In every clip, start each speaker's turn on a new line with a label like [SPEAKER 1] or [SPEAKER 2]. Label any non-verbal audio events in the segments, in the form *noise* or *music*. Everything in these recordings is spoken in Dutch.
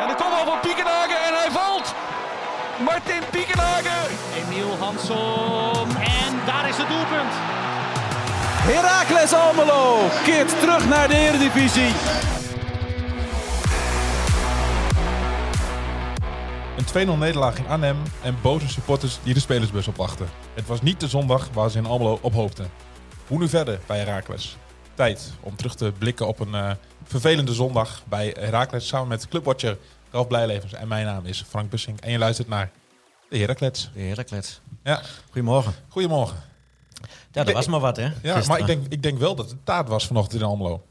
[SPEAKER 1] En de kopbal van Piekenhagen en hij valt. Martin Piekenhagen.
[SPEAKER 2] Emiel Hansom. En daar is het doelpunt.
[SPEAKER 3] Heracles Almelo keert terug naar de Eredivisie.
[SPEAKER 4] Een 2-0 nederlaag in Arnhem en boze supporters die de spelersbus opwachten. Het was niet de zondag waar ze in Almelo op hoopten. Hoe nu verder bij Heracles? Tijd om terug te blikken op een eh, vervelende zondag bij Heracles samen met clubwatcher Ralf Blijlevens. En mijn naam is Frank Bussink en je luistert naar de Heracles.
[SPEAKER 5] De Heracles.
[SPEAKER 4] Ja,
[SPEAKER 5] Goedemorgen.
[SPEAKER 4] goedemorgen.
[SPEAKER 5] Ja, dat was maar wat, hè?
[SPEAKER 4] Ja,
[SPEAKER 5] Gisteren.
[SPEAKER 4] maar ik denk, ik denk wel dat het taart was vanochtend in Almelo.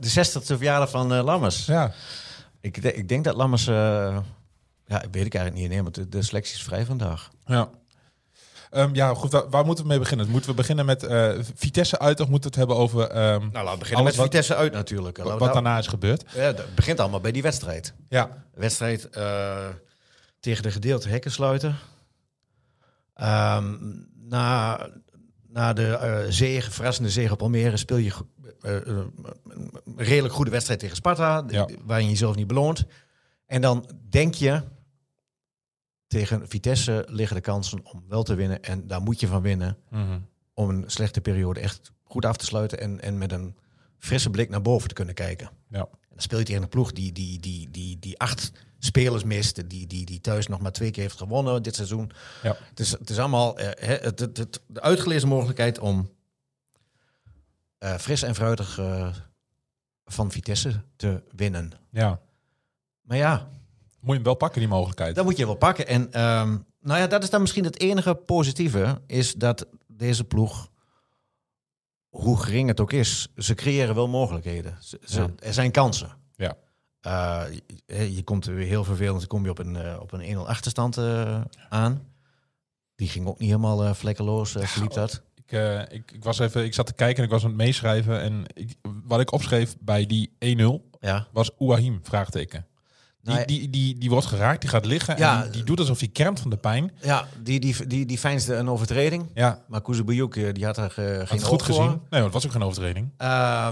[SPEAKER 5] De 60ste verjaardag van eh, Lammers.
[SPEAKER 4] Ja,
[SPEAKER 5] Ik, de- ik denk dat Lammers... eh, ja, ik weet ik eigenlijk niet. Nee, want de, de selectie is vrij vandaag.
[SPEAKER 4] ja. Ehm, ja, goed, waar, waar moeten we mee beginnen? Moeten we beginnen met eh, Vitesse uit of moeten we het hebben over ehm,
[SPEAKER 5] Nou, laten we beginnen
[SPEAKER 4] Alles
[SPEAKER 5] met
[SPEAKER 4] wat-
[SPEAKER 5] Vitesse uit natuurlijk.
[SPEAKER 4] wat,
[SPEAKER 5] Laten we
[SPEAKER 4] wat
[SPEAKER 5] nou-
[SPEAKER 4] daarna is gebeurd?
[SPEAKER 5] Ja, dat begint allemaal bij die wedstrijd.
[SPEAKER 4] Ja,
[SPEAKER 5] De wedstrijd eh, tegen de gedeelte hekken sluiten. Ehm, na, na de eh zege, verrassende zege op Almere speel je go- eh, eh, een redelijk goede wedstrijd tegen Sparta,
[SPEAKER 4] Ja.
[SPEAKER 5] waarin je jezelf niet beloont. En dan denk je, tegen Vitesse liggen de kansen om wel te winnen. En daar moet je van winnen om een slechte periode echt goed af te sluiten en, en met een frisse blik naar boven te kunnen kijken.
[SPEAKER 4] ja.
[SPEAKER 5] En Dan speel je tegen een ploeg die, die, die, die, die acht spelers mist. Die, die, die thuis nog maar twee keer heeft gewonnen dit seizoen.
[SPEAKER 4] Ja.
[SPEAKER 5] Het, is, het is allemaal eh, hè, het, het, het- de uitgelezen mogelijkheid om eh, fris en fruitig eh, van Vitesse te winnen.
[SPEAKER 4] ja.
[SPEAKER 5] Maar ja,
[SPEAKER 4] Moet je hem wel pakken, die mogelijkheid.
[SPEAKER 5] dat moet je wel pakken. En ehm, nou ja, dat is dan misschien het enige positieve. Is dat deze ploeg, hoe gering het ook is, ze creëren wel mogelijkheden. Ze, ze-
[SPEAKER 4] Ja.
[SPEAKER 5] Er zijn kansen.
[SPEAKER 4] Ja.
[SPEAKER 5] Eh, je, je komt weer heel vervelend, dan kom je op een, eh, op een 1-0 achterstand eh, aan. Die ging ook niet helemaal eh, vlekkeloos, eh, verliep dat.
[SPEAKER 4] Ik, eh, ik, ik, was even, ik zat te kijken en ik was aan het meeschrijven. En ik, wat ik opschreef bij die 1-0
[SPEAKER 5] Ja.
[SPEAKER 4] was Ouahim, vraagteken. Die,
[SPEAKER 5] Nou ja.
[SPEAKER 4] die, die, die wordt geraakt, die gaat liggen
[SPEAKER 5] Ja.
[SPEAKER 4] en die, die doet alsof hij kermt van de pijn.
[SPEAKER 5] Ja, die, die, die, die fijnste een overtreding.
[SPEAKER 4] Ja,
[SPEAKER 5] Maar Koezebujuk, eh, die had er eh,
[SPEAKER 4] had
[SPEAKER 5] geen
[SPEAKER 4] het goed
[SPEAKER 5] oog voor.
[SPEAKER 4] gezien. Nee, want het was ook geen overtreding.
[SPEAKER 5] Eh,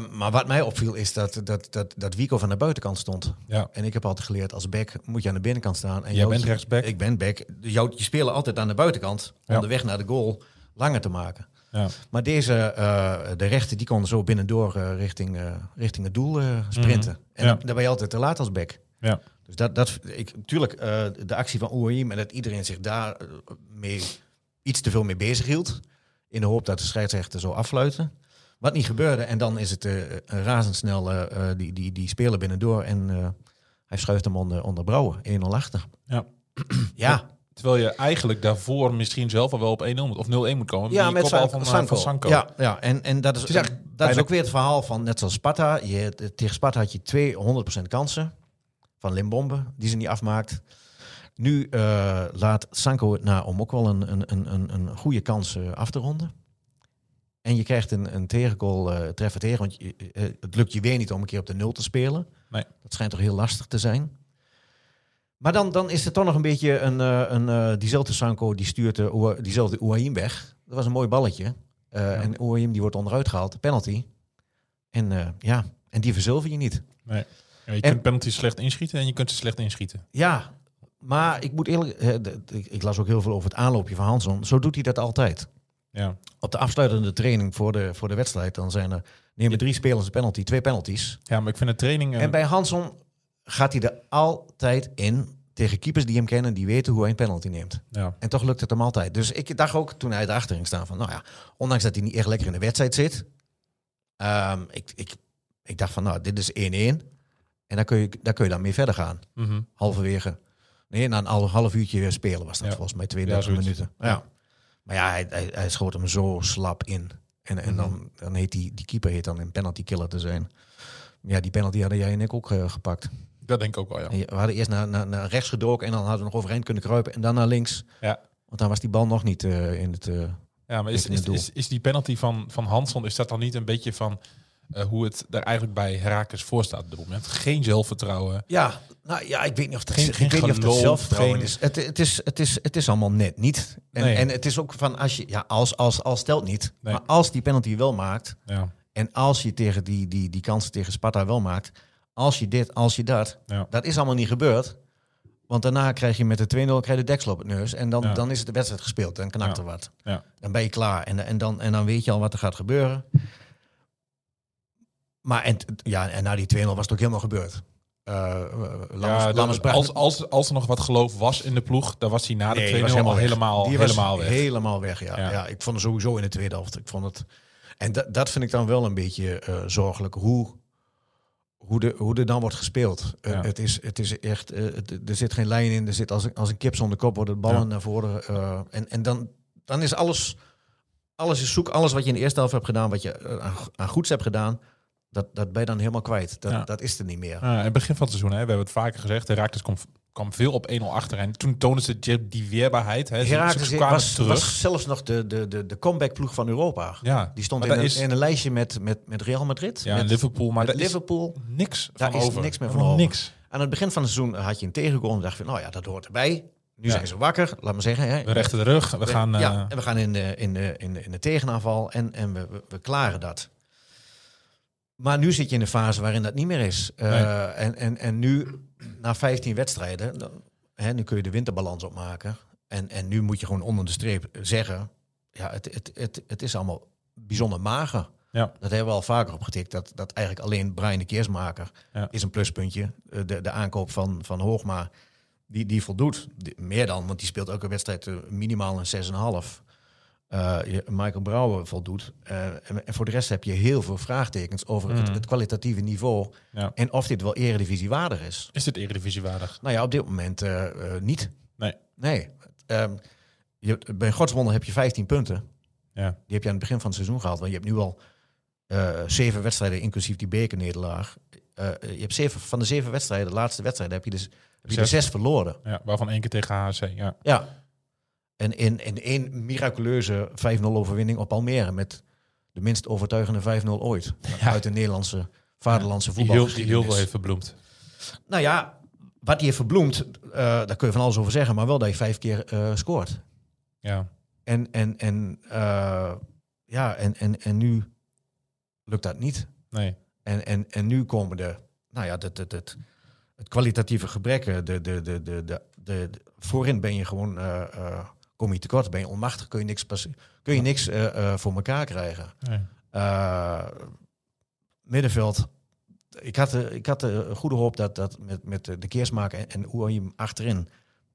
[SPEAKER 5] maar wat mij opviel is dat, dat, dat, dat Wico van de buitenkant stond.
[SPEAKER 4] Ja,
[SPEAKER 5] En ik heb altijd geleerd, als back moet je aan de binnenkant staan. En
[SPEAKER 4] Jij bent rechtsback.
[SPEAKER 5] Ik ben back. Jou, je spelen altijd aan de buitenkant
[SPEAKER 4] Ja.
[SPEAKER 5] om de weg naar de goal langer te maken.
[SPEAKER 4] ja,
[SPEAKER 5] Maar deze, eh, de rechter, die kon zo binnendoor eh, richting, eh, richting het doel eh, sprinten. En
[SPEAKER 4] Mhm. Ja.
[SPEAKER 5] dan, dan ben je altijd te laat als back.
[SPEAKER 4] ja.
[SPEAKER 5] Dus dat, dat ik, natuurlijk, eh, de actie van Oerim en dat iedereen zich daar eh, mee, iets te veel mee bezig hield. In de hoop dat de scheidsrechter zo affluiten. Wat niet gebeurde. En dan is het eh, razendsnel eh, eh, die, die, die speler binnendoor. En eh, hij schuift hem onder, onder Brouwen. 1-0 achter.
[SPEAKER 4] Ja.
[SPEAKER 5] ja.
[SPEAKER 4] Terwijl je eigenlijk daarvoor misschien zelf al wel op 1-0 moet, of 0-1 moet komen.
[SPEAKER 5] Ja,
[SPEAKER 4] Die
[SPEAKER 5] met
[SPEAKER 4] kopbal
[SPEAKER 5] San-
[SPEAKER 4] van, eh,
[SPEAKER 5] Sanko.
[SPEAKER 4] van Sanko.
[SPEAKER 5] Ja, ja. En, en dat is,
[SPEAKER 4] is echt
[SPEAKER 5] dat is
[SPEAKER 4] bijna-
[SPEAKER 5] ook weer het verhaal van, net zoals Sparta. Je, tegen Sparta had je 200% kansen van Limbombe, die ze niet afmaakt. Nu eh, laat Sanko het na om ook wel een, een, een, een, een goede kans eh, af te ronden. En je krijgt een, een tegengoal eh, treffen tegen, want je- eh, het lukt je weer niet om een keer op de nul te spelen.
[SPEAKER 4] Nee.
[SPEAKER 5] Dat schijnt toch heel lastig te zijn. Maar dan, dan is het toch nog een beetje een, eh, een eh, diezelfde Sanko die stuurt de Oua- diezelfde Ouahim weg. Dat was een mooi balletje. Eh, En Ouahim die wordt onderuit gehaald, penalty. En eh, ja, en die verzilver je niet.
[SPEAKER 4] Nee. En je
[SPEAKER 5] En-
[SPEAKER 4] kunt penalty slecht inschieten en je kunt ze slecht inschieten.
[SPEAKER 5] Ja, maar ik moet eerlijk, eh, de- de- ik, ik las ook heel veel over het aanloopje van Hanson. Zo doet hij dat altijd.
[SPEAKER 4] Ja,
[SPEAKER 5] Op de afsluitende training voor de, voor de wedstrijd, dan zijn er nemen drie spelers een penalty, twee penalties.
[SPEAKER 4] ja maar ik vind de training... eh,
[SPEAKER 5] En bij Hanson gaat hij er altijd in tegen keepers die hem kennen, die weten hoe hij een penalty neemt.
[SPEAKER 4] ja.
[SPEAKER 5] En toch lukt het hem altijd. Dus ik dacht ook toen hij erachter ging staan van, nou ja, ondanks dat hij niet echt lekker in de wedstrijd zit. ehm, ik, ik, ik dacht van, nou, dit is 1-1. En dan kun je, daar kun je dan mee verder gaan.
[SPEAKER 4] Mhm.
[SPEAKER 5] Halverwege, nee, na een half, half uurtje weer spelen was dat
[SPEAKER 4] Ja.
[SPEAKER 5] volgens mij 32
[SPEAKER 4] zoiets.
[SPEAKER 5] minuten. Ja. Maar ja, hij, hij, hij schoot hem zo slap in. En, en dan, dan heet die, die keeper heet dan een penalty killer te zijn. Ja, die penalty hadden jij en ik ook eh, gepakt.
[SPEAKER 4] Dat denk ik ook wel, ja.
[SPEAKER 5] En je- we hadden eerst naar, naar, naar rechts gedoken en dan hadden we nog overeind kunnen kruipen en dan naar links.
[SPEAKER 4] ja.
[SPEAKER 5] Want dan was die bal nog niet eh, in het. eh,
[SPEAKER 4] Ja, maar is,
[SPEAKER 5] richting
[SPEAKER 4] is,
[SPEAKER 5] het doel.
[SPEAKER 4] is, is die penalty van, van Hanson, is dat dan niet een beetje van eh, hoe het daar eigenlijk bij Herakles voor staat op dit moment? Geen zelfvertrouwen.
[SPEAKER 5] Ja, nou ja, ik weet niet of dat,
[SPEAKER 4] Geen-
[SPEAKER 5] ik
[SPEAKER 4] geen
[SPEAKER 5] weet niet of dat
[SPEAKER 4] geloof,
[SPEAKER 5] zelfvertrouwen
[SPEAKER 4] geen-
[SPEAKER 5] is. Het, het is. het is. Het is allemaal net niet. En,
[SPEAKER 4] Nee.
[SPEAKER 5] en het is ook van als je, ja, als, als, als stelt niet.
[SPEAKER 4] Nee.
[SPEAKER 5] Maar als die penalty wel maakt
[SPEAKER 4] Ja,
[SPEAKER 5] en als je tegen die, die, die kansen tegen Sparta wel maakt, Als je dit, als je dat.
[SPEAKER 4] Ja.
[SPEAKER 5] Dat is allemaal niet gebeurd. Want daarna krijg je met de 2-0 krijg je de deksel op het neus. En dan,
[SPEAKER 4] Ja.
[SPEAKER 5] dan is het de wedstrijd gespeeld. Dan knakt
[SPEAKER 4] Ja.
[SPEAKER 5] er wat.
[SPEAKER 4] Ja.
[SPEAKER 5] Dan ben je klaar. En, en, dan, en dan weet je al wat er gaat gebeuren. Maar en, ja, en na die 2-0 was het ook helemaal gebeurd. Eh, eh, Lammers,
[SPEAKER 4] Ja,
[SPEAKER 5] Lammers
[SPEAKER 4] dat-
[SPEAKER 5] bracht-
[SPEAKER 4] als, als, als er nog wat geloof was in de ploeg, dan was hij na de
[SPEAKER 5] Nee,
[SPEAKER 4] 2-0
[SPEAKER 5] die was
[SPEAKER 4] helemaal,
[SPEAKER 5] weg.
[SPEAKER 4] helemaal,
[SPEAKER 5] Die was
[SPEAKER 4] helemaal weg.
[SPEAKER 5] Helemaal weg, ja.
[SPEAKER 4] Ja.
[SPEAKER 5] ja. ik vond het sowieso in de tweede helft. Ik vond het, en dat, dat vind ik dan wel een beetje eh, zorgelijk. Hoe, hoe, de, hoe er dan wordt gespeeld. Eh,
[SPEAKER 4] Ja.
[SPEAKER 5] het, is, het is echt... eh, het- er zit geen lijn in. Er zit als, een- als een kip zonder kop worden de ballen
[SPEAKER 4] Ja.
[SPEAKER 5] naar voren. eh, en en dan, dan is alles... Alles is zoek. Alles wat je in de eerste helft hebt gedaan, wat je eh, aan, aan goeds hebt gedaan... Dat, dat ben je dan helemaal kwijt. Dat,
[SPEAKER 4] Ja.
[SPEAKER 5] dat is er niet meer.
[SPEAKER 4] Ja, in het begin van het seizoen, hè, we hebben het vaker gezegd, Herakles kwam, kwam veel op 1-0 achter. En toen toonden ze die- die weerbaarheid. Hè. Ze- ze,
[SPEAKER 5] Herakles
[SPEAKER 4] kwamen
[SPEAKER 5] was,
[SPEAKER 4] terug.
[SPEAKER 5] was zelfs nog de, de, de, de comeback ploeg van Europa.
[SPEAKER 4] ja,
[SPEAKER 5] Die stond
[SPEAKER 4] Maar
[SPEAKER 5] in een,
[SPEAKER 4] daar is-
[SPEAKER 5] in een lijstje met, met, met Real Madrid.
[SPEAKER 4] ja,
[SPEAKER 5] met
[SPEAKER 4] en Liverpool, maar
[SPEAKER 5] met
[SPEAKER 4] daar
[SPEAKER 5] Liverpool.
[SPEAKER 4] is niks
[SPEAKER 5] Daar
[SPEAKER 4] van
[SPEAKER 5] is
[SPEAKER 4] over.
[SPEAKER 5] niks meer
[SPEAKER 4] Helemaal
[SPEAKER 5] van over.
[SPEAKER 4] Niks.
[SPEAKER 5] Aan het begin van het seizoen had je een tegengoal en dacht je, van, nou ja, dat hoort erbij. Nu
[SPEAKER 4] Ja.
[SPEAKER 5] zijn ze wakker, laat maar zeggen. Hè.
[SPEAKER 4] We rechten de rug. We
[SPEAKER 5] We-
[SPEAKER 4] gaan... eh,
[SPEAKER 5] ja, en we gaan in de, in de, in de, in de tegenaanval en, en we, we, we klaren dat. Maar nu zit je in de fase waarin dat niet meer is. Eh,
[SPEAKER 4] Nee.
[SPEAKER 5] en, en, en nu, na 15 wedstrijden, dan, hè, nu kun je de winterbalans opmaken. En, en nu moet je gewoon onder de streep zeggen, ja, het, het, het, het is allemaal bijzonder mager.
[SPEAKER 4] ja.
[SPEAKER 5] Dat hebben we al vaker opgetikt. Dat, dat eigenlijk alleen Brian de Keersmaker
[SPEAKER 4] Ja.
[SPEAKER 5] is een pluspuntje. Eh, De, de aankoop van, van Hoogma, die, die voldoet. Die- meer dan, want die speelt elke wedstrijd eh, minimaal een 6,5. Eh, je- Michael Brouwer voldoet. Eh, en, en voor de rest heb je heel veel vraagtekens over het, het kwalitatieve niveau.
[SPEAKER 4] Mm. Ja.
[SPEAKER 5] En of dit wel eredivisie waardig is.
[SPEAKER 4] Is dit Eredivisie waardig?
[SPEAKER 5] Nou ja, op dit moment eh, eh, niet.
[SPEAKER 4] Nee.
[SPEAKER 5] Nee. Ehm, je, bij godswonder heb je 15 punten.
[SPEAKER 4] Ja.
[SPEAKER 5] Die heb je aan het begin van het seizoen gehaald. Want je hebt nu al eh, zeven wedstrijden, inclusief die bekernederlaag. Eh, je hebt zeven, van de zeven wedstrijden, de laatste wedstrijden, heb je, dus, heb je er
[SPEAKER 4] Zes.
[SPEAKER 5] zes verloren.
[SPEAKER 4] ja, waarvan één keer tegen HC. Ja.
[SPEAKER 5] Ja. En in, in één miraculeuze 5-0 overwinning op Almere. Met de minst overtuigende 5-0 ooit. Uit de Nederlandse, vaderlandse
[SPEAKER 4] Die
[SPEAKER 5] voetbal.
[SPEAKER 4] heel, die heel veel heeft verbloemd.
[SPEAKER 5] Nou ja, wat hij heeft verbloemd, eh, daar kun je van alles over zeggen. Maar wel dat je vijf keer eh, scoort.
[SPEAKER 4] Ja.
[SPEAKER 5] En, en, en, eh, ja, en, en, en nu lukt dat niet.
[SPEAKER 4] Nee.
[SPEAKER 5] En, en, en nu komen de, nou ja, het, het, het, het kwalitatieve gebreken. De, de, de, de, de, de, de- voorin ben je gewoon, eh, eh, kom je tekort, ben je onmachtig, kun je niks, passi- kun je niks eh, eh, voor elkaar krijgen.
[SPEAKER 4] nee.
[SPEAKER 5] Eh, middenveld, ik had, de- ik had de goede hoop dat, dat met, met de keersmaker en, en Oerim achterin,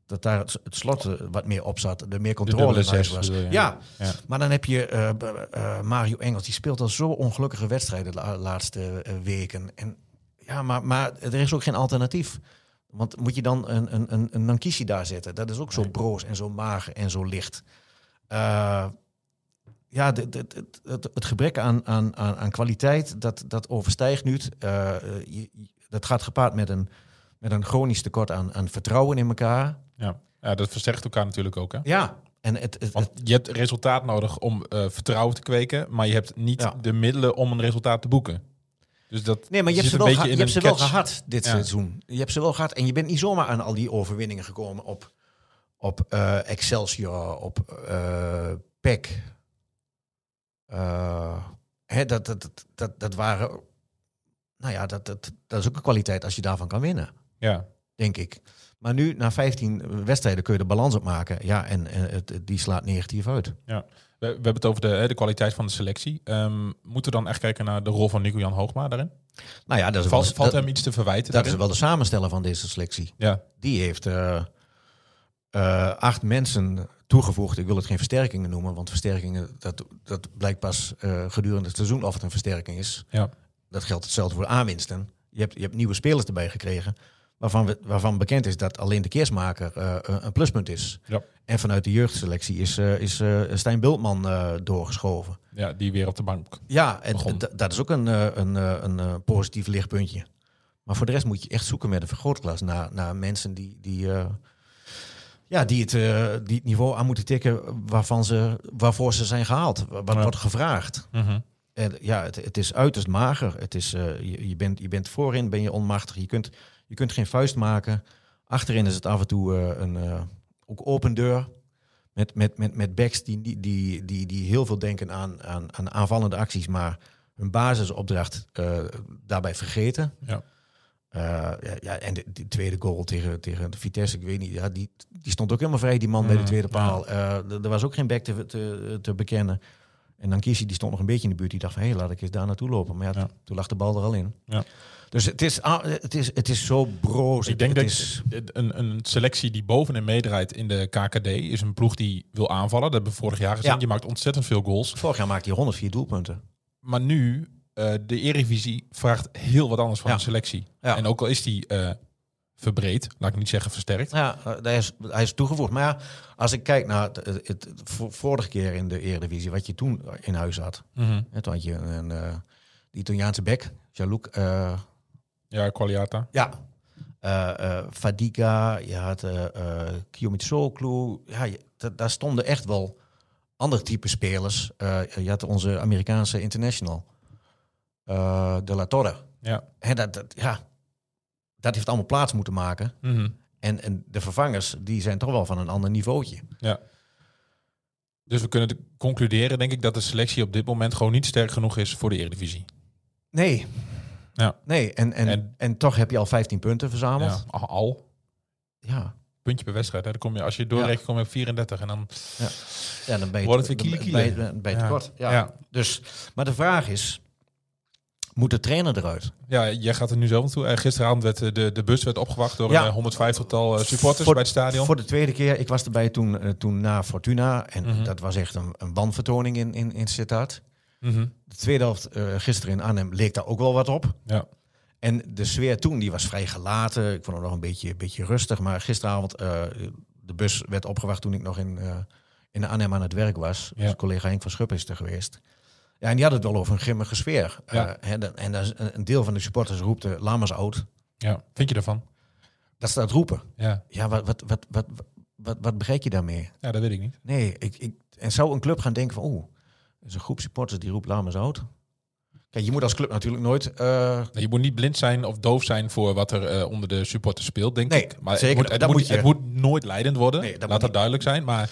[SPEAKER 5] dat daar het, het slot eh, wat meer op zat, er meer controle
[SPEAKER 4] dubbele
[SPEAKER 5] in huis
[SPEAKER 4] zes
[SPEAKER 5] was.
[SPEAKER 4] bedoel je?
[SPEAKER 5] Ja,
[SPEAKER 4] Ja.
[SPEAKER 5] maar dan heb je eh, b- eh, Mario Engels. Die speelt al zo ongelukkige wedstrijden de la- laatste eh, weken. En, ja, maar, maar er is ook geen alternatief. Want moet je dan een, een, een, een Nankishi daar zetten? Dat is ook zo broos en zo mager en zo licht. Eh, ja, de- de- de- het, het, gebrek aan, aan, aan, aan kwaliteit, dat, dat overstijgt nu. het. Eh, eh, je- je- dat gaat gepaard met een, met een chronisch tekort aan, aan vertrouwen in elkaar.
[SPEAKER 4] Ja. ja, dat verzegt elkaar natuurlijk ook. Hè?
[SPEAKER 5] Ja, en het, het,
[SPEAKER 4] Want
[SPEAKER 5] het-
[SPEAKER 4] je hebt resultaat nodig om eh, vertrouwen te kweken, maar je hebt niet
[SPEAKER 5] Ja.
[SPEAKER 4] de middelen om een resultaat te boeken. Dus dat
[SPEAKER 5] Nee, maar je hebt ze,
[SPEAKER 4] zit
[SPEAKER 5] wel,
[SPEAKER 4] een beetje
[SPEAKER 5] geha- je
[SPEAKER 4] in
[SPEAKER 5] hebt ze
[SPEAKER 4] een
[SPEAKER 5] wel
[SPEAKER 4] catch.
[SPEAKER 5] gehad dit
[SPEAKER 4] Ja.
[SPEAKER 5] seizoen. Je hebt ze wel gehad. En je bent niet zomaar aan al die overwinningen gekomen op, op eh, Excelsior, op eh PEC. Eh, hè, dat, dat, dat, dat, dat waren... Nou ja, dat, dat, dat is ook een kwaliteit als je daarvan kan winnen,
[SPEAKER 4] Ja,
[SPEAKER 5] denk ik. Maar nu, na 15 wedstrijden, kun je de balans opmaken. Ja, en, en het, het- die slaat negatief uit.
[SPEAKER 4] ja. We, we hebben het over de, hè, de kwaliteit van de selectie. Ehm, moeten we dan echt kijken naar de rol van Nico-Jan Hoogma daarin?
[SPEAKER 5] Nou ja, dat is,
[SPEAKER 4] Valt,
[SPEAKER 5] wel,
[SPEAKER 4] valt
[SPEAKER 5] dat,
[SPEAKER 4] hem iets te verwijten
[SPEAKER 5] dat is
[SPEAKER 4] daarin?
[SPEAKER 5] wel de samensteller van deze selectie.
[SPEAKER 4] Ja,
[SPEAKER 5] die heeft eh, eh, acht mensen toegevoegd. Ik wil het geen versterkingen noemen, want versterkingen, dat, dat blijkt pas eh, gedurende het seizoen of het een versterking is.
[SPEAKER 4] ja,
[SPEAKER 5] Dat geldt hetzelfde voor aanwinsten. Je hebt, je hebt nieuwe spelers erbij gekregen, waarvan, we, waarvan bekend is dat alleen de keersmaker eh, een een pluspunt is.
[SPEAKER 4] ja.
[SPEAKER 5] En vanuit de jeugdselectie is, eh, is eh, Stijn Bultman eh, doorgeschoven.
[SPEAKER 4] ja, die weer op de bank.
[SPEAKER 5] Ja, en
[SPEAKER 4] Begon.
[SPEAKER 5] d- dat is ook een, eh, een, eh, een eh, positief lichtpuntje. Maar voor de rest moet je echt zoeken met een vergrootglas naar, naar mensen die, die, eh, ja, die, het, eh, die het niveau aan moeten tikken waarvan ze, waarvoor ze zijn gehaald. Wat
[SPEAKER 4] Ja.
[SPEAKER 5] wordt gevraagd.
[SPEAKER 4] Mhm.
[SPEAKER 5] En ja, het, het is uiterst mager. Het is, eh, je, je, bent, je bent voorin, ben je onmachtig. Je kunt, je kunt geen vuist maken. Achterin is het af en toe eh, een eh, ook open deur. Met, met, met, met backs die, die, die, die, die heel veel denken aan, aan, aan aanvallende acties, maar hun basisopdracht eh, daarbij vergeten.
[SPEAKER 4] Ja.
[SPEAKER 5] Eh, ja, ja, en de, die tweede goal tegen, tegen de Vitesse, ik weet niet. Ja, die, die stond ook helemaal vrij, die man
[SPEAKER 4] Mm,
[SPEAKER 5] bij de tweede paal. Eh, d- er was ook geen back te, te, te bekennen. En dan Kisi, die stond nog een beetje in de buurt. Die dacht van, hé, laat ik eens daar naartoe lopen. Maar ja,
[SPEAKER 4] Ja.
[SPEAKER 5] t- toen lag de bal er al in.
[SPEAKER 4] Ja.
[SPEAKER 5] Dus het is, ah, het, is, het is zo broos.
[SPEAKER 4] Ik denk
[SPEAKER 5] het
[SPEAKER 4] dat
[SPEAKER 5] is,
[SPEAKER 4] een, een selectie die bovenin meedraait in de KKD is een ploeg die wil aanvallen. Dat hebben we vorig jaar gezien.
[SPEAKER 5] Ja.
[SPEAKER 4] Je maakt ontzettend veel goals.
[SPEAKER 5] Vorig jaar maakte hij 104 doelpunten.
[SPEAKER 4] Maar nu, eh, de Eredivisie vraagt heel wat anders van
[SPEAKER 5] Ja.
[SPEAKER 4] een selectie.
[SPEAKER 5] Ja.
[SPEAKER 4] En ook al is die eh, verbreed, laat ik niet zeggen versterkt.
[SPEAKER 5] Ja, eh, hij is, hij is toegevoegd. Maar ja, als ik kijk naar het, het, het vo- vorige keer in de Eredivisie, wat je toen in huis had.
[SPEAKER 4] Mhm.
[SPEAKER 5] Hè, toen had je een, een, eh, de Italiaanse bek, Jalouk. eh,
[SPEAKER 4] Ja, Qualiata.
[SPEAKER 5] ja. eh eh, Fadiga, je had eh eh Kiyomitsoglu. Ja, je- da- daar stonden echt wel andere type spelers. Eh, je had onze Amerikaanse international, eh, De La Torre.
[SPEAKER 4] Ja.
[SPEAKER 5] Hè, dat, dat, ja, dat heeft allemaal plaats moeten maken.
[SPEAKER 4] Mhm.
[SPEAKER 5] En, en de vervangers, die zijn toch wel van een ander niveautje.
[SPEAKER 4] Dus we kunnen de- concluderen, denk ik, dat de selectie op dit moment gewoon niet sterk genoeg is voor de Eredivisie.
[SPEAKER 5] Nee.
[SPEAKER 4] Ja.
[SPEAKER 5] Nee, en, en, en,
[SPEAKER 4] En-
[SPEAKER 5] toch heb je al 15 punten
[SPEAKER 4] Ja,
[SPEAKER 5] verzameld.
[SPEAKER 4] al- al.
[SPEAKER 5] Ja, ja.
[SPEAKER 4] Puntje per wedstrijd. Hè. Dan kom je, als je doorrekt, kom je op 34. En dan,
[SPEAKER 5] dan ben je,
[SPEAKER 4] Wordt het
[SPEAKER 5] dan
[SPEAKER 4] weer
[SPEAKER 5] ben-
[SPEAKER 4] kiele, kiele.
[SPEAKER 5] ben je- ben je
[SPEAKER 4] Ja.
[SPEAKER 5] tekort. Ja.
[SPEAKER 4] ja. Ja.
[SPEAKER 5] Dus, maar de vraag is, moet de trainer eruit?
[SPEAKER 4] jij gaat er nu zelf naartoe. Eh, gisteravond werd eh, de, de bus werd opgewacht door
[SPEAKER 5] Ja.
[SPEAKER 4] een eh, 150-tal supporters
[SPEAKER 5] Voor-
[SPEAKER 4] bij het stadion.
[SPEAKER 5] Voor de tweede keer, ik was erbij toen, eh, toen na Fortuna. En
[SPEAKER 4] Mhm.
[SPEAKER 5] dat was echt een, een wanvertoning in, in, in Sittard.
[SPEAKER 4] Mhm.
[SPEAKER 5] De tweede helft eh, gisteren in Arnhem leek daar ook wel wat op.
[SPEAKER 4] Ja.
[SPEAKER 5] En de sfeer toen, die was vrij gelaten. Ik vond het nog een beetje, beetje rustig. Maar gisteravond, eh, de bus werd opgewacht toen ik nog in, eh in Arnhem aan het werk was.
[SPEAKER 4] Ja.
[SPEAKER 5] Dus collega Henk van Schupp is er geweest. Ja, en die had het wel over een grimmige sfeer.
[SPEAKER 4] Ja.
[SPEAKER 5] Eh, hè, dan- en dan is een een deel van de supporters roept eh, Lammers oud.
[SPEAKER 4] ja, vind je daarvan?
[SPEAKER 5] Dat ze dat roepen.
[SPEAKER 4] Ja.
[SPEAKER 5] Ja, wat, wat, wat, wat, wat, wat begrijp je daarmee?
[SPEAKER 4] ja, dat weet ik niet.
[SPEAKER 5] Nee, ik, ik, en zou een club gaan denken van... oeh, er is een groep supporters die roept Lammers oud. Kijk, je moet als club natuurlijk nooit... eh,
[SPEAKER 4] Je moet niet blind zijn of doof zijn voor wat er eh, onder de supporters speelt, denk
[SPEAKER 5] Nee,
[SPEAKER 4] ik. Maar
[SPEAKER 5] zeker.
[SPEAKER 4] het, moet, het,
[SPEAKER 5] Dat
[SPEAKER 4] moet,
[SPEAKER 5] moet je-
[SPEAKER 4] het moet nooit leidend worden,
[SPEAKER 5] Nee, dat moet
[SPEAKER 4] laat dat
[SPEAKER 5] niet.
[SPEAKER 4] duidelijk zijn. Maar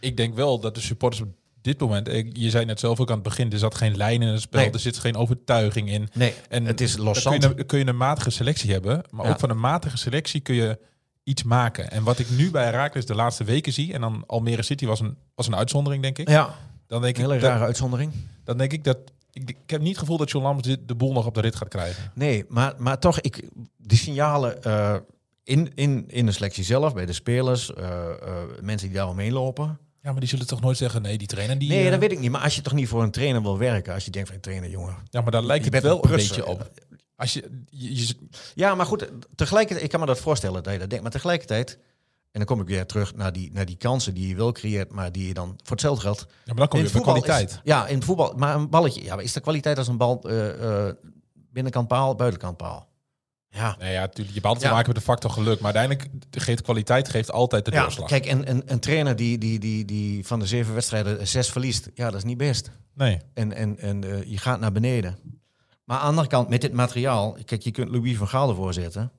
[SPEAKER 4] ik denk wel dat de supporters op dit moment... eh, Je zei net zelf ook aan het begin, er zat geen lijn in het spel.
[SPEAKER 5] Nee.
[SPEAKER 4] Er zit geen overtuiging in.
[SPEAKER 5] nee,
[SPEAKER 4] En
[SPEAKER 5] het is
[SPEAKER 4] Dan kun,
[SPEAKER 5] loszand.
[SPEAKER 4] je een, kun je een matige selectie hebben. Maar
[SPEAKER 5] Ja.
[SPEAKER 4] ook van een matige selectie kun je iets maken. En wat ik nu bij Heracles de laatste weken zie... en dan Almere City was een, was een uitzondering, denk ik.
[SPEAKER 5] Ja,
[SPEAKER 4] Dan denk
[SPEAKER 5] een hele
[SPEAKER 4] ik,
[SPEAKER 5] rare
[SPEAKER 4] dat,
[SPEAKER 5] uitzondering.
[SPEAKER 4] dan denk ik dat... Ik, ik heb niet het gevoel dat John Lammers dit- de boel nog op de rit gaat krijgen.
[SPEAKER 5] Nee, maar, maar toch, ik, die signalen eh, in, in, in de selectie zelf, bij de spelers, eh, eh, mensen die daar omheen lopen.
[SPEAKER 4] Ja, maar die zullen toch nooit zeggen... nee, die trainer die...
[SPEAKER 5] Nee,
[SPEAKER 4] eh,
[SPEAKER 5] dat weet ik niet. Maar als je toch niet voor een trainer wil werken, als je denkt van een trainer, jongen.
[SPEAKER 4] Ja, maar daar lijkt
[SPEAKER 5] Je
[SPEAKER 4] het
[SPEAKER 5] bent
[SPEAKER 4] wel een
[SPEAKER 5] een prutser.
[SPEAKER 4] beetje op. Als je, je, je-
[SPEAKER 5] Ja, maar goed, tegelijkertijd, ik kan me dat voorstellen dat je dat denkt, maar tegelijkertijd, en dan kom ik weer terug naar die, naar die kansen die je wel creëert, maar die je dan voor hetzelfde geld.
[SPEAKER 4] ja, maar dan kom
[SPEAKER 5] In
[SPEAKER 4] je
[SPEAKER 5] het
[SPEAKER 4] bij
[SPEAKER 5] voetbal
[SPEAKER 4] kwaliteit.
[SPEAKER 5] is- ja, in het voetbal, maar een balletje. Ja, maar is de kwaliteit als een bal eh, eh, binnenkant paal, buitenkant paal? Ja.
[SPEAKER 4] Nee, ja, natuurlijk. Je hebt altijd
[SPEAKER 5] Ja.
[SPEAKER 4] te maken met de factor geluk. Maar uiteindelijk geeft kwaliteit geeft altijd de doorslag.
[SPEAKER 5] kijk, en een, een trainer die, die, die, die van de zeven wedstrijden zes verliest, ja, dat is niet best.
[SPEAKER 4] Nee.
[SPEAKER 5] En, en, en eh, je gaat naar beneden. Maar aan de andere kant, met dit materiaal, kijk, je kunt Louis van Gaal ervoor zetten.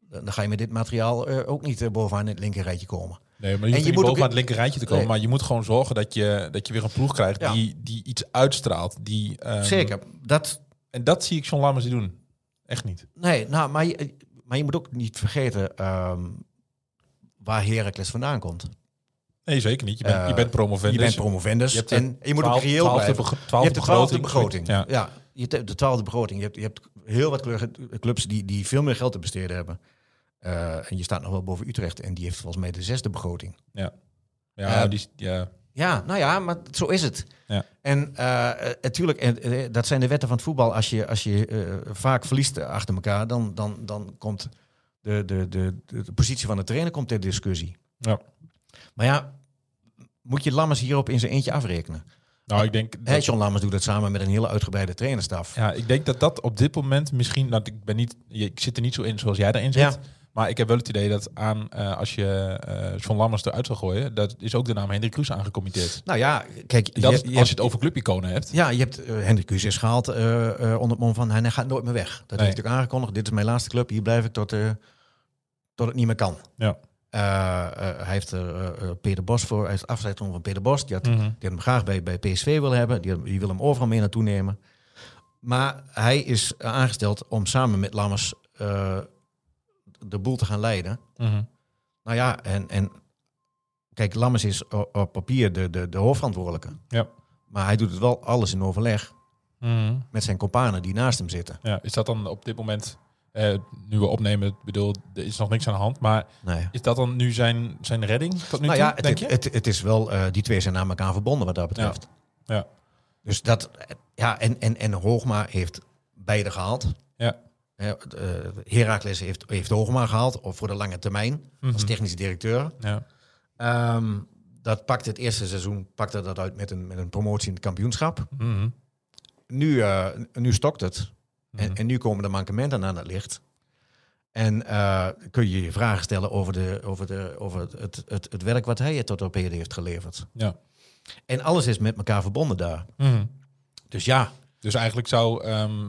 [SPEAKER 5] Dan dan ga je met dit materiaal eh, ook niet eh, bovenaan het linkerrijtje komen.
[SPEAKER 4] Nee, maar je hoeft je
[SPEAKER 5] je moet
[SPEAKER 4] niet
[SPEAKER 5] ook-
[SPEAKER 4] boven aan het linkerrijtje te komen.
[SPEAKER 5] Nee.
[SPEAKER 4] Maar je moet gewoon zorgen dat je, dat je weer een ploeg krijgt
[SPEAKER 5] Ja.
[SPEAKER 4] die, die iets uitstraalt. Die, ehm,
[SPEAKER 5] Zeker, dat,
[SPEAKER 4] En dat zie ik John Lammers niet doen. Echt niet.
[SPEAKER 5] nee, nou, maar je, maar je moet ook niet vergeten ehm, waar Heracles vandaan komt.
[SPEAKER 4] Nee, zeker niet. Je bent,
[SPEAKER 5] Eh,
[SPEAKER 4] je bent promovendus.
[SPEAKER 5] je bent promovendus
[SPEAKER 4] Je hebt de
[SPEAKER 5] en je moet ook
[SPEAKER 4] twaalf-
[SPEAKER 5] reëel
[SPEAKER 4] twaalfde
[SPEAKER 5] blijven.
[SPEAKER 4] beg-
[SPEAKER 5] Je
[SPEAKER 4] twaalfde
[SPEAKER 5] hebt de twaalfde
[SPEAKER 4] begroting.
[SPEAKER 5] begroting.
[SPEAKER 4] Ja.
[SPEAKER 5] Ja. je hebt de twaalfde begroting. Je hebt, je hebt heel wat kleur- clubs die, die veel meer geld te besteden hebben. Eh, en je staat nog wel boven Utrecht. En die heeft volgens mij de zesde begroting.
[SPEAKER 4] Ja,
[SPEAKER 5] Eh,
[SPEAKER 4] die, ja.
[SPEAKER 5] Ja, nou ja, maar zo is het.
[SPEAKER 4] Ja.
[SPEAKER 5] En eh, natuurlijk, dat zijn de wetten van het voetbal. Als je, als je eh, vaak verliest achter elkaar, dan, dan, dan komt de, de, de, de, de positie van de trainer komt ter discussie.
[SPEAKER 4] Ja.
[SPEAKER 5] Maar ja, moet je Lammers hierop in zijn eentje afrekenen?
[SPEAKER 4] Nou, ik denk
[SPEAKER 5] Hè,
[SPEAKER 4] dat
[SPEAKER 5] John Lammers doet dat samen met een hele uitgebreide trainerstaf.
[SPEAKER 4] Ja, ik denk dat dat op dit moment misschien... dat ik, ben niet, ik zit er niet zo in zoals jij daarin zit.
[SPEAKER 5] Ja.
[SPEAKER 4] Maar ik heb wel het idee dat aan, eh, als je eh John Lammers eruit zou gooien... dat is ook de naam Hendrik Cruz aangecommitteerd.
[SPEAKER 5] Nou ja, kijk,
[SPEAKER 4] Dat is,
[SPEAKER 5] je- je
[SPEAKER 4] als je
[SPEAKER 5] hebt-
[SPEAKER 4] het over clubiconen hebt.
[SPEAKER 5] ja, je hebt eh, Hendrik Kuus is gehaald eh, eh, onder het mom van hij gaat nooit meer weg. Dat heeft hij natuurlijk aangekondigd. Dit is mijn laatste club. Hier blijf ik tot, eh, tot het niet meer kan.
[SPEAKER 4] Ja.
[SPEAKER 5] Eh, eh, hij heeft er eh, eh, Peter Bos voor. Hij heeft afscheid genomen van Peter Bos. Die had,
[SPEAKER 4] Mhm.
[SPEAKER 5] die had hem graag bij, bij PSV willen hebben. Die, had- die wil hem overal mee naartoe nemen. Maar hij is aangesteld om eh, samen met Lammers eh, de boel te gaan leiden.
[SPEAKER 4] Mhm.
[SPEAKER 5] Nou ja, en, en kijk, Lammers is o- op papier de, de, de hoofdverantwoordelijke.
[SPEAKER 4] Ja.
[SPEAKER 5] Maar hij doet het wel alles in overleg
[SPEAKER 4] Mhm.
[SPEAKER 5] met zijn kompanen die naast hem zitten.
[SPEAKER 4] Ja, is dat dan op dit moment, eh, nu we opnemen, ik bedoel, er is nog niks aan de hand, maar
[SPEAKER 5] Nee.
[SPEAKER 4] is dat dan nu zijn, zijn redding tot nu
[SPEAKER 5] Nou
[SPEAKER 4] toe,
[SPEAKER 5] ja, het,
[SPEAKER 4] denk je?
[SPEAKER 5] het, het, het is wel, eh, die twee zijn aan elkaar verbonden wat dat betreft.
[SPEAKER 4] Ja.
[SPEAKER 5] Dus dat, eh, ja, en, en, en Hoogma heeft beide gehaald.
[SPEAKER 4] Ja.
[SPEAKER 5] Eh, eh, Heracles heeft, heeft Hoogma gehaald, of voor de lange termijn, als technisch directeur.
[SPEAKER 4] ja.
[SPEAKER 5] Ehm, dat pakte het eerste seizoen pakte dat uit met een, met een promotie in het kampioenschap.
[SPEAKER 4] Mhm.
[SPEAKER 5] Nu, eh, nu stokt het. En, en nu komen de mankementen aan het licht. En eh, kun je je vragen stellen over, de, over, de, over het, het, het, het werk wat hij tot op heden heeft geleverd.
[SPEAKER 4] ja.
[SPEAKER 5] En alles is met elkaar verbonden daar.
[SPEAKER 4] Mhm.
[SPEAKER 5] Dus ja,
[SPEAKER 4] Dus eigenlijk zou, ehm,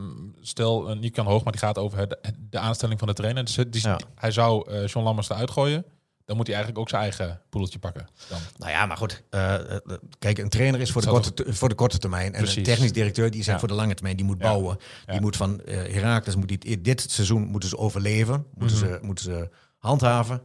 [SPEAKER 4] stel, eh, niet kan hoog, maar die gaat over het- de aanstelling van de trainer. Dus het- die,
[SPEAKER 5] Ja.
[SPEAKER 4] Hij zou eh John Lammers eruit gooien. Dan moet hij eigenlijk ook zijn eigen poedeltje pakken. Dan.
[SPEAKER 5] nou ja, maar goed. eh, eh, kijk, een trainer is voor de,
[SPEAKER 4] Zou
[SPEAKER 5] korte, te- voor de korte termijn. En
[SPEAKER 4] Precies.
[SPEAKER 5] een technisch directeur die is er
[SPEAKER 4] Ja.
[SPEAKER 5] voor de lange termijn. Die moet
[SPEAKER 4] Ja.
[SPEAKER 5] bouwen.
[SPEAKER 4] Ja.
[SPEAKER 5] Die moet van eh Herakles, moet die, dit seizoen moeten ze overleven. Moeten, ze,
[SPEAKER 4] Mhm.
[SPEAKER 5] moeten ze handhaven.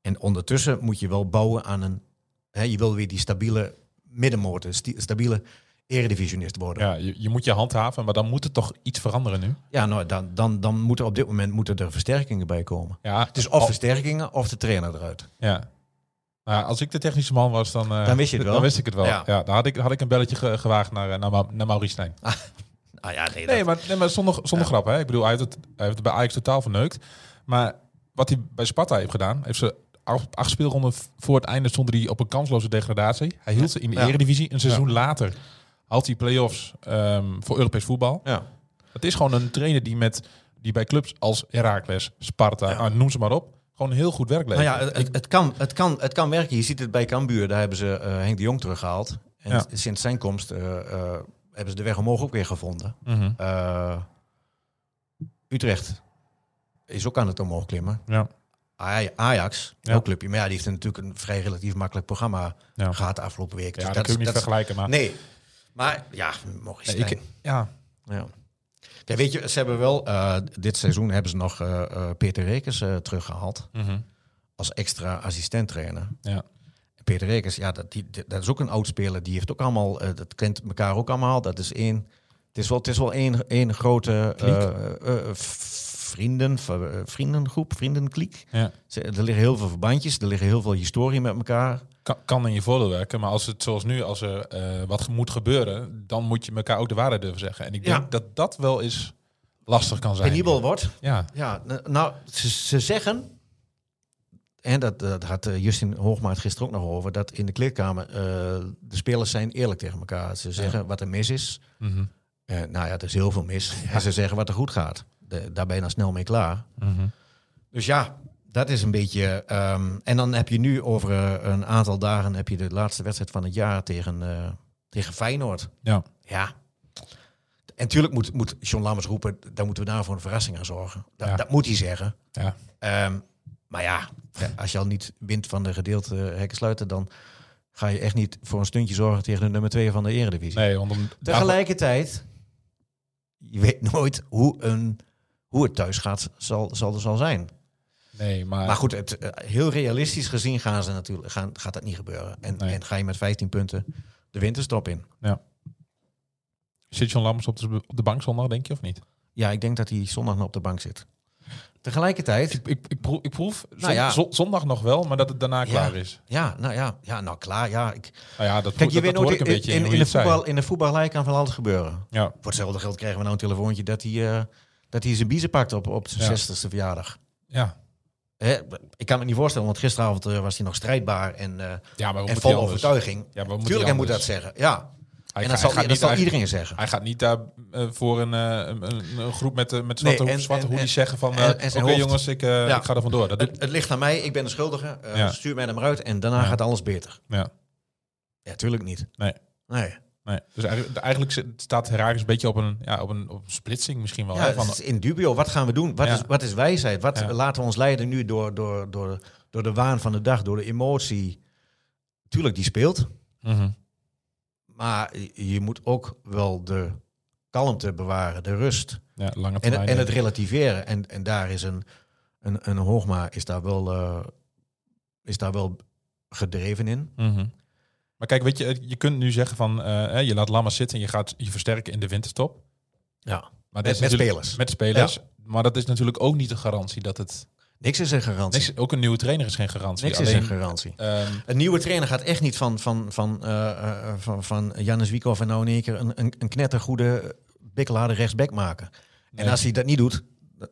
[SPEAKER 5] En ondertussen moet je wel bouwen aan een... Hè, je wil weer die stabiele middenmotor, sti- stabiele eredivisionist worden.
[SPEAKER 4] Ja, je, je moet je handhaven, maar dan moet er toch iets veranderen nu.
[SPEAKER 5] Ja, nou, dan, dan, dan moeten op dit moment moeten er versterkingen bij komen.
[SPEAKER 4] Ja,
[SPEAKER 5] Dus of
[SPEAKER 4] al-
[SPEAKER 5] versterkingen of de trainer eruit.
[SPEAKER 4] ja. Nou, als ik de technische man was, dan, eh,
[SPEAKER 5] Dan wist je het wel.
[SPEAKER 4] Dan wist ik het wel. Ja.
[SPEAKER 5] Ja.
[SPEAKER 4] dan had ik, had ik een belletje ge- gewaagd naar, eh, naar, Ma- naar Maurice Stijn.
[SPEAKER 5] Ah ja, nee, dat-
[SPEAKER 4] Nee, maar, nee, maar zonder, zonder grap. Hè. Ik bedoel, hij heeft, het, hij heeft het bij Ajax totaal verneukt. Maar wat hij bij Sparta heeft gedaan... heeft ze acht, acht speelronden v- voor het einde... stond hij op een kansloze degradatie. Hij hield ze in de
[SPEAKER 5] Ja.
[SPEAKER 4] eredivisie. Een seizoen later haalt hij play-offs ehm, voor Europees voetbal.
[SPEAKER 5] Ja.
[SPEAKER 4] Het is gewoon een trainer die, met, die bij clubs als Heracles, Sparta... ah, noem ze maar op, gewoon heel goed werk
[SPEAKER 5] Nou
[SPEAKER 4] levert.
[SPEAKER 5] ja, het, het- het, kan, het, kan, het kan werken. Je ziet het bij Cambuur, daar hebben ze eh, Henk de Jong teruggehaald. En
[SPEAKER 4] Ja.
[SPEAKER 5] sinds zijn komst eh, eh, hebben ze de weg omhoog ook weer gevonden.
[SPEAKER 4] Mhm.
[SPEAKER 5] Eh, Utrecht is ook aan het omhoog klimmen.
[SPEAKER 4] Ja.
[SPEAKER 5] Aj- Ajax,
[SPEAKER 4] Ja.
[SPEAKER 5] ook clubje. Maar ja, die heeft natuurlijk een vrij relatief makkelijk programma
[SPEAKER 4] Ja.
[SPEAKER 5] gehad de afgelopen week. Dus
[SPEAKER 4] Ja, dat kun je niet
[SPEAKER 5] is-
[SPEAKER 4] vergelijken, maar...
[SPEAKER 5] Nee, maar ja, mocht je
[SPEAKER 4] Nee, ik, ja,
[SPEAKER 5] ja. Kijk, weet je, ze hebben wel, eh, dit seizoen hebben ze nog eh, eh, Peter Rekers eh, teruggehaald
[SPEAKER 4] Mhm.
[SPEAKER 5] als extra assistent trainer.
[SPEAKER 4] Ja.
[SPEAKER 5] Peter Rekers, ja, dat, die, die- dat is ook een oud speler. Die heeft ook allemaal, eh, dat kent elkaar ook allemaal. Dat is één, het is wel, het is wel één, één grote eh, eh, v- vrienden, v- eh, vriendengroep, vriendenkliek.
[SPEAKER 4] Ja.
[SPEAKER 5] Ze- Er liggen heel veel verbandjes, er liggen heel veel historie met elkaar.
[SPEAKER 4] kan, kan in je voordeel werken. Maar als het zoals nu, als er eh, wat moet gebeuren, dan moet je elkaar ook de waarheid durven zeggen. En ik denk
[SPEAKER 5] Ja.
[SPEAKER 4] dat dat wel eens lastig kan zijn.
[SPEAKER 5] Penibel wordt.
[SPEAKER 4] Ja,
[SPEAKER 5] Ja, n- nou, ze, ze zeggen, en dat, dat had eh, Justin Hoogma het gisteren ook nog over, dat in de kleedkamer eh, de spelers zijn eerlijk tegen elkaar. Ze zeggen wat er mis is.
[SPEAKER 4] Mhm.
[SPEAKER 5] Eh, nou ja, er is heel veel mis. En ze zeggen wat er goed gaat. De, daar ben je dan snel mee klaar.
[SPEAKER 4] Mhm.
[SPEAKER 5] Dus ja, dat is een beetje... ehm, en dan heb je nu over eh, een aantal dagen heb je de laatste wedstrijd van het jaar tegen, eh, tegen Feyenoord.
[SPEAKER 4] ja.
[SPEAKER 5] Ja. En natuurlijk moet, moet John Lammers roepen, daar moeten we daar voor een verrassing aan zorgen. Dat,
[SPEAKER 4] Ja.
[SPEAKER 5] dat moet hij zeggen.
[SPEAKER 4] ja.
[SPEAKER 5] Ehm, maar ja, ja, als je al niet wint van de gedeelte eh, hekken sluiten, dan ga je echt niet voor een stuntje zorgen tegen de nummer 2 van de Eredivisie.
[SPEAKER 4] Nee, want om,
[SPEAKER 5] Tegelijkertijd, je weet nooit hoe, een, hoe het thuis gaat, zal, zal er zal zijn.
[SPEAKER 4] nee, maar,
[SPEAKER 5] Maar goed, het, eh, heel realistisch gezien gaan ze natuurlijk, gaan, gaat dat niet gebeuren. En,
[SPEAKER 4] Nee.
[SPEAKER 5] en ga je met 15 punten de winterstop in.
[SPEAKER 4] zit John Lammers op de, op de bank zondag, denk je, of niet?
[SPEAKER 5] Ja, ik denk dat hij zondag nog op de bank zit. Tegelijkertijd,
[SPEAKER 4] Ik, ik, proef, ik proef
[SPEAKER 5] Nou ja.
[SPEAKER 4] zon- zondag nog wel, maar dat het daarna klaar is.
[SPEAKER 5] ja, nou ja, ja, nou klaar, ja. Ik,
[SPEAKER 4] Nou ja, dat,
[SPEAKER 5] Kijk,
[SPEAKER 4] dat,
[SPEAKER 5] je weet
[SPEAKER 4] dat hoor
[SPEAKER 5] nooit,
[SPEAKER 4] ik een
[SPEAKER 5] in,
[SPEAKER 4] beetje in,
[SPEAKER 5] in,
[SPEAKER 4] hoe
[SPEAKER 5] in
[SPEAKER 4] je
[SPEAKER 5] de
[SPEAKER 4] het zei.
[SPEAKER 5] voetbal, in de voetballerij kan van alles gebeuren.
[SPEAKER 4] Ja,
[SPEAKER 5] Voor hetzelfde geld krijgen we nou een telefoontje dat hij, eh, dat hij zijn biezen pakt op, op zijn
[SPEAKER 4] Ja.
[SPEAKER 5] 60ste verjaardag.
[SPEAKER 4] ja.
[SPEAKER 5] Hè, ik kan me niet voorstellen, want gisteravond eh, was hij nog strijdbaar en, eh,
[SPEAKER 4] ja maar we
[SPEAKER 5] en
[SPEAKER 4] moeten
[SPEAKER 5] vol
[SPEAKER 4] die anders.
[SPEAKER 5] overtuiging.
[SPEAKER 4] Ja, maar we moeten die
[SPEAKER 5] Tuurlijk, hij moet dat
[SPEAKER 4] anders.
[SPEAKER 5] zeggen. Ja,
[SPEAKER 4] Hij
[SPEAKER 5] en
[SPEAKER 4] ga- hij
[SPEAKER 5] dat zal,
[SPEAKER 4] gaat
[SPEAKER 5] dat
[SPEAKER 4] niet
[SPEAKER 5] zal
[SPEAKER 4] eigenlijk-
[SPEAKER 5] iedereen zeggen.
[SPEAKER 4] Hij gaat niet daar eh, voor een, eh, een, een- een groep met, eh, met
[SPEAKER 5] Nee,
[SPEAKER 4] zwarte,
[SPEAKER 5] en-
[SPEAKER 4] zwarte
[SPEAKER 5] en-
[SPEAKER 4] hoedies
[SPEAKER 5] en-
[SPEAKER 4] zeggen van... eh,
[SPEAKER 5] en- en
[SPEAKER 4] Oké
[SPEAKER 5] zijn hoofd.
[SPEAKER 4] jongens, ik, eh,
[SPEAKER 5] Ja.
[SPEAKER 4] ik ga er vandoor. Dat doet,
[SPEAKER 5] Het, het ligt aan mij, ik ben de schuldige, eh,
[SPEAKER 4] Ja.
[SPEAKER 5] stuur mij er maar uit en daarna
[SPEAKER 4] Ja.
[SPEAKER 5] gaat alles beter.
[SPEAKER 4] ja.
[SPEAKER 5] Ja, tuurlijk niet.
[SPEAKER 4] Nee.
[SPEAKER 5] Nee.
[SPEAKER 4] Nee. Dus eigenlijk, eigenlijk zit- staat Herakles een beetje op een, ja, op een, op een splitsing misschien wel.
[SPEAKER 5] Ja,
[SPEAKER 4] hè,
[SPEAKER 5] het
[SPEAKER 4] van,
[SPEAKER 5] is in dubio, wat gaan we doen? Wat,
[SPEAKER 4] Ja.
[SPEAKER 5] is, wat is wijsheid? Wat
[SPEAKER 4] Ja.
[SPEAKER 5] laten we ons leiden nu door, door, door, door de waan van de dag, door de emotie? Tuurlijk, die speelt.
[SPEAKER 4] Mhm.
[SPEAKER 5] Maar je moet ook wel de kalmte bewaren, de rust
[SPEAKER 4] Ja, lange
[SPEAKER 5] en, het-
[SPEAKER 4] termijn. eh,
[SPEAKER 5] en het
[SPEAKER 4] denk ik.
[SPEAKER 5] relativeren. En, en daar is een, een, een Hoogma is daar, wel, eh, is daar wel gedreven in.
[SPEAKER 4] Mhm. Maar kijk, weet je, je kunt nu zeggen van eh, hè, je laat Lama zitten en je gaat je versterken in de winterstop.
[SPEAKER 5] Ja.
[SPEAKER 4] Maar
[SPEAKER 5] Met-
[SPEAKER 4] dat is
[SPEAKER 5] met
[SPEAKER 4] natuurlijk-
[SPEAKER 5] spelers.
[SPEAKER 4] Met spelers. Maar dat is natuurlijk ook niet een garantie dat het.
[SPEAKER 5] Niks is een garantie. Niks,
[SPEAKER 4] Niks, ook een nieuwe trainer is geen garantie.
[SPEAKER 5] is
[SPEAKER 4] Alleen,
[SPEAKER 5] een garantie.
[SPEAKER 4] ehm,
[SPEAKER 5] Een nieuwe trainer gaat echt niet van, van, van, eh, eh, van, van Jannes Wiekoff en nou in één keer een, een, een knettergoede bikkelharde rechtsback maken. En
[SPEAKER 4] Nee.
[SPEAKER 5] als hij dat niet doet,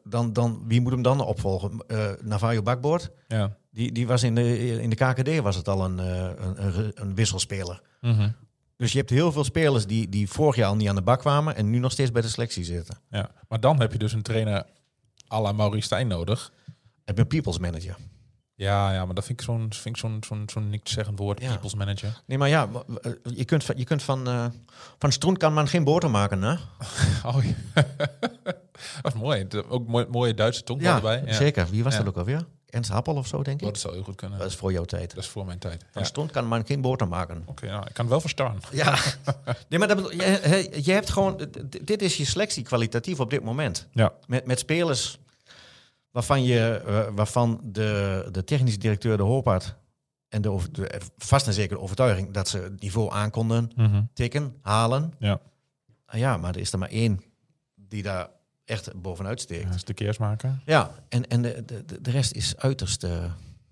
[SPEAKER 5] dan, dan, wie moet hem dan opvolgen? Eh Navajo Bakboord,
[SPEAKER 4] ja.
[SPEAKER 5] die, die was in de, in de KKD was het al een, eh, een, een, een wisselspeler.
[SPEAKER 4] Mhm.
[SPEAKER 5] Dus je hebt heel veel spelers die, die vorig jaar al niet aan de bak kwamen en nu nog steeds bij de selectie zitten.
[SPEAKER 4] ja. Maar dan heb je dus een trainer à la Maurice Stijn nodig.
[SPEAKER 5] Ik ben people's manager.
[SPEAKER 4] Ja, ja, maar dat vind ik zo'n vind ik zo'n zo'n zo'n niks zeggend woord.
[SPEAKER 5] Ja.
[SPEAKER 4] People's manager. *laughs*
[SPEAKER 5] Nee, maar ja, w- w- eh, je kunt, van- je kunt van, eh van Stroen kan man geen boter maken, hè?
[SPEAKER 4] Oh, ja. *laughs* dat is mooi. De- Ook mooi, mooie Duitse tong
[SPEAKER 5] Ja,
[SPEAKER 4] erbij. Ja.
[SPEAKER 5] zeker. Wie was
[SPEAKER 4] Ja.
[SPEAKER 5] dat ook alweer? Ernst Happel of zo, denk ik?
[SPEAKER 4] Dat zou heel goed kunnen.
[SPEAKER 5] Dat is voor jouw tijd.
[SPEAKER 4] Dat is voor mijn tijd. Ja.
[SPEAKER 5] Van stond kan man geen boter maken.
[SPEAKER 4] Oké, nou, ik kan het wel verstaan.
[SPEAKER 5] Ja. *laughs* nee, maar dat bedoel- je, hè, je hebt gewoon... d- d- Dit is je selectie kwalitatief op dit moment.
[SPEAKER 4] Ja.
[SPEAKER 5] Met, met spelers waarvan, je, eh, waarvan de, de technische directeur de hoop had... en de, over- de- vast en zeker de overtuiging dat ze het niveau aankonden...
[SPEAKER 4] Mhm.
[SPEAKER 5] tikken, halen.
[SPEAKER 4] Ja.
[SPEAKER 5] Ah ja, maar er is er maar één die daar echt bovenuit
[SPEAKER 4] ja,
[SPEAKER 5] steekt.
[SPEAKER 4] dat is de keersmaker.
[SPEAKER 5] Ja, en, en de, de, de- de rest is uiterst, eh,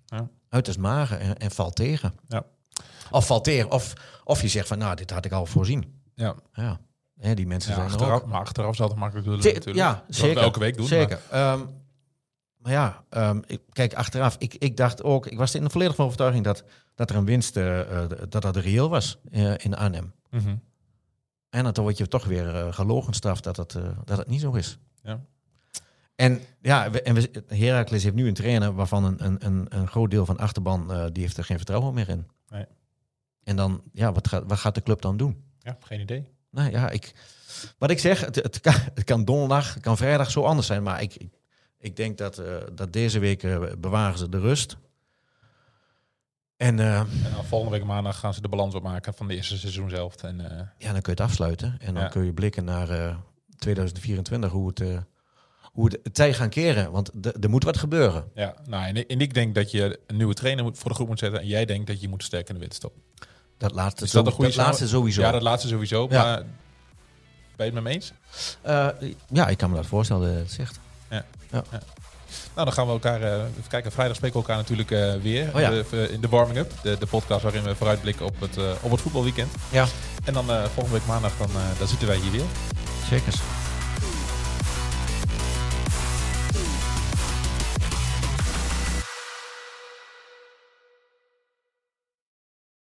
[SPEAKER 4] Ja.
[SPEAKER 5] uiterst mager en, en valt tegen.
[SPEAKER 4] Ja.
[SPEAKER 5] Of valt tegen. Of, of je zegt van, nou, dit had ik al voorzien.
[SPEAKER 4] Ja.
[SPEAKER 5] Ja, Hè, die mensen
[SPEAKER 4] Ja,
[SPEAKER 5] zijn er
[SPEAKER 4] achteraf,
[SPEAKER 5] ook.
[SPEAKER 4] maar achteraf zal het makkelijk willen
[SPEAKER 5] Ze-
[SPEAKER 4] natuurlijk.
[SPEAKER 5] ja,
[SPEAKER 4] Dat
[SPEAKER 5] zeker.
[SPEAKER 4] we elke week doen.
[SPEAKER 5] Zeker. Ehm, Maar, ja, ehm, ik, kijk, achteraf, ik, ik dacht ook, ik was er in de volledige overtuiging dat, dat er een winst, eh, eh, dat dat reëel was eh, in Arnhem.
[SPEAKER 4] maar- Mhm.
[SPEAKER 5] En dan word je toch weer eh, gelogen straf dat het, eh, dat het niet zo is.
[SPEAKER 4] Ja.
[SPEAKER 5] En ja, we, en we, Heracles heeft nu een trainer waarvan een, een, een, een groot deel van de achterban eh, die heeft er geen vertrouwen meer in.
[SPEAKER 4] Nee.
[SPEAKER 5] En dan, ja, wat gaat, wat gaat de club dan doen?
[SPEAKER 4] Ja, geen idee.
[SPEAKER 5] Nou ja, ik, wat ik zeg, het, het, kan, het kan donderdag, het kan vrijdag zo anders zijn. Maar ik, ik, ik denk dat, eh, dat deze week eh, bewaren ze de rust. En eh,
[SPEAKER 4] En dan volgende week maandag gaan ze de balans opmaken van de eerste seizoen zelf. En eh,
[SPEAKER 5] ja, dan kun je het afsluiten. En dan
[SPEAKER 4] Ja.
[SPEAKER 5] kun je blikken naar eh, 2024, hoe het, eh, hoe het tij gaan keren. Want d- er moet wat gebeuren.
[SPEAKER 4] ja, nou, en, en ik denk dat je een nieuwe trainer moet, voor de groep moet zetten. En jij denkt dat je moet sterk in de winterstop.
[SPEAKER 5] Dat laatste,
[SPEAKER 4] Is dat
[SPEAKER 5] zo-
[SPEAKER 4] een goede
[SPEAKER 5] dat laatste
[SPEAKER 4] samen-
[SPEAKER 5] sowieso.
[SPEAKER 4] Ja, dat laatste sowieso.
[SPEAKER 5] Ja.
[SPEAKER 4] Maar ben je het met me eens?
[SPEAKER 5] Eh, ja, ik kan me dat voorstellen dat je het zegt.
[SPEAKER 4] Nou, dan gaan we elkaar eh, even kijken. Vrijdag spreken we elkaar natuurlijk eh, weer
[SPEAKER 5] Oh ja.
[SPEAKER 4] de, in de warming-up. De, de podcast waarin we vooruitblikken op het, eh, op het voetbalweekend.
[SPEAKER 5] Ja,
[SPEAKER 4] En dan eh, volgende week maandag, dan, eh, dan zitten wij hier weer.
[SPEAKER 5] zeker.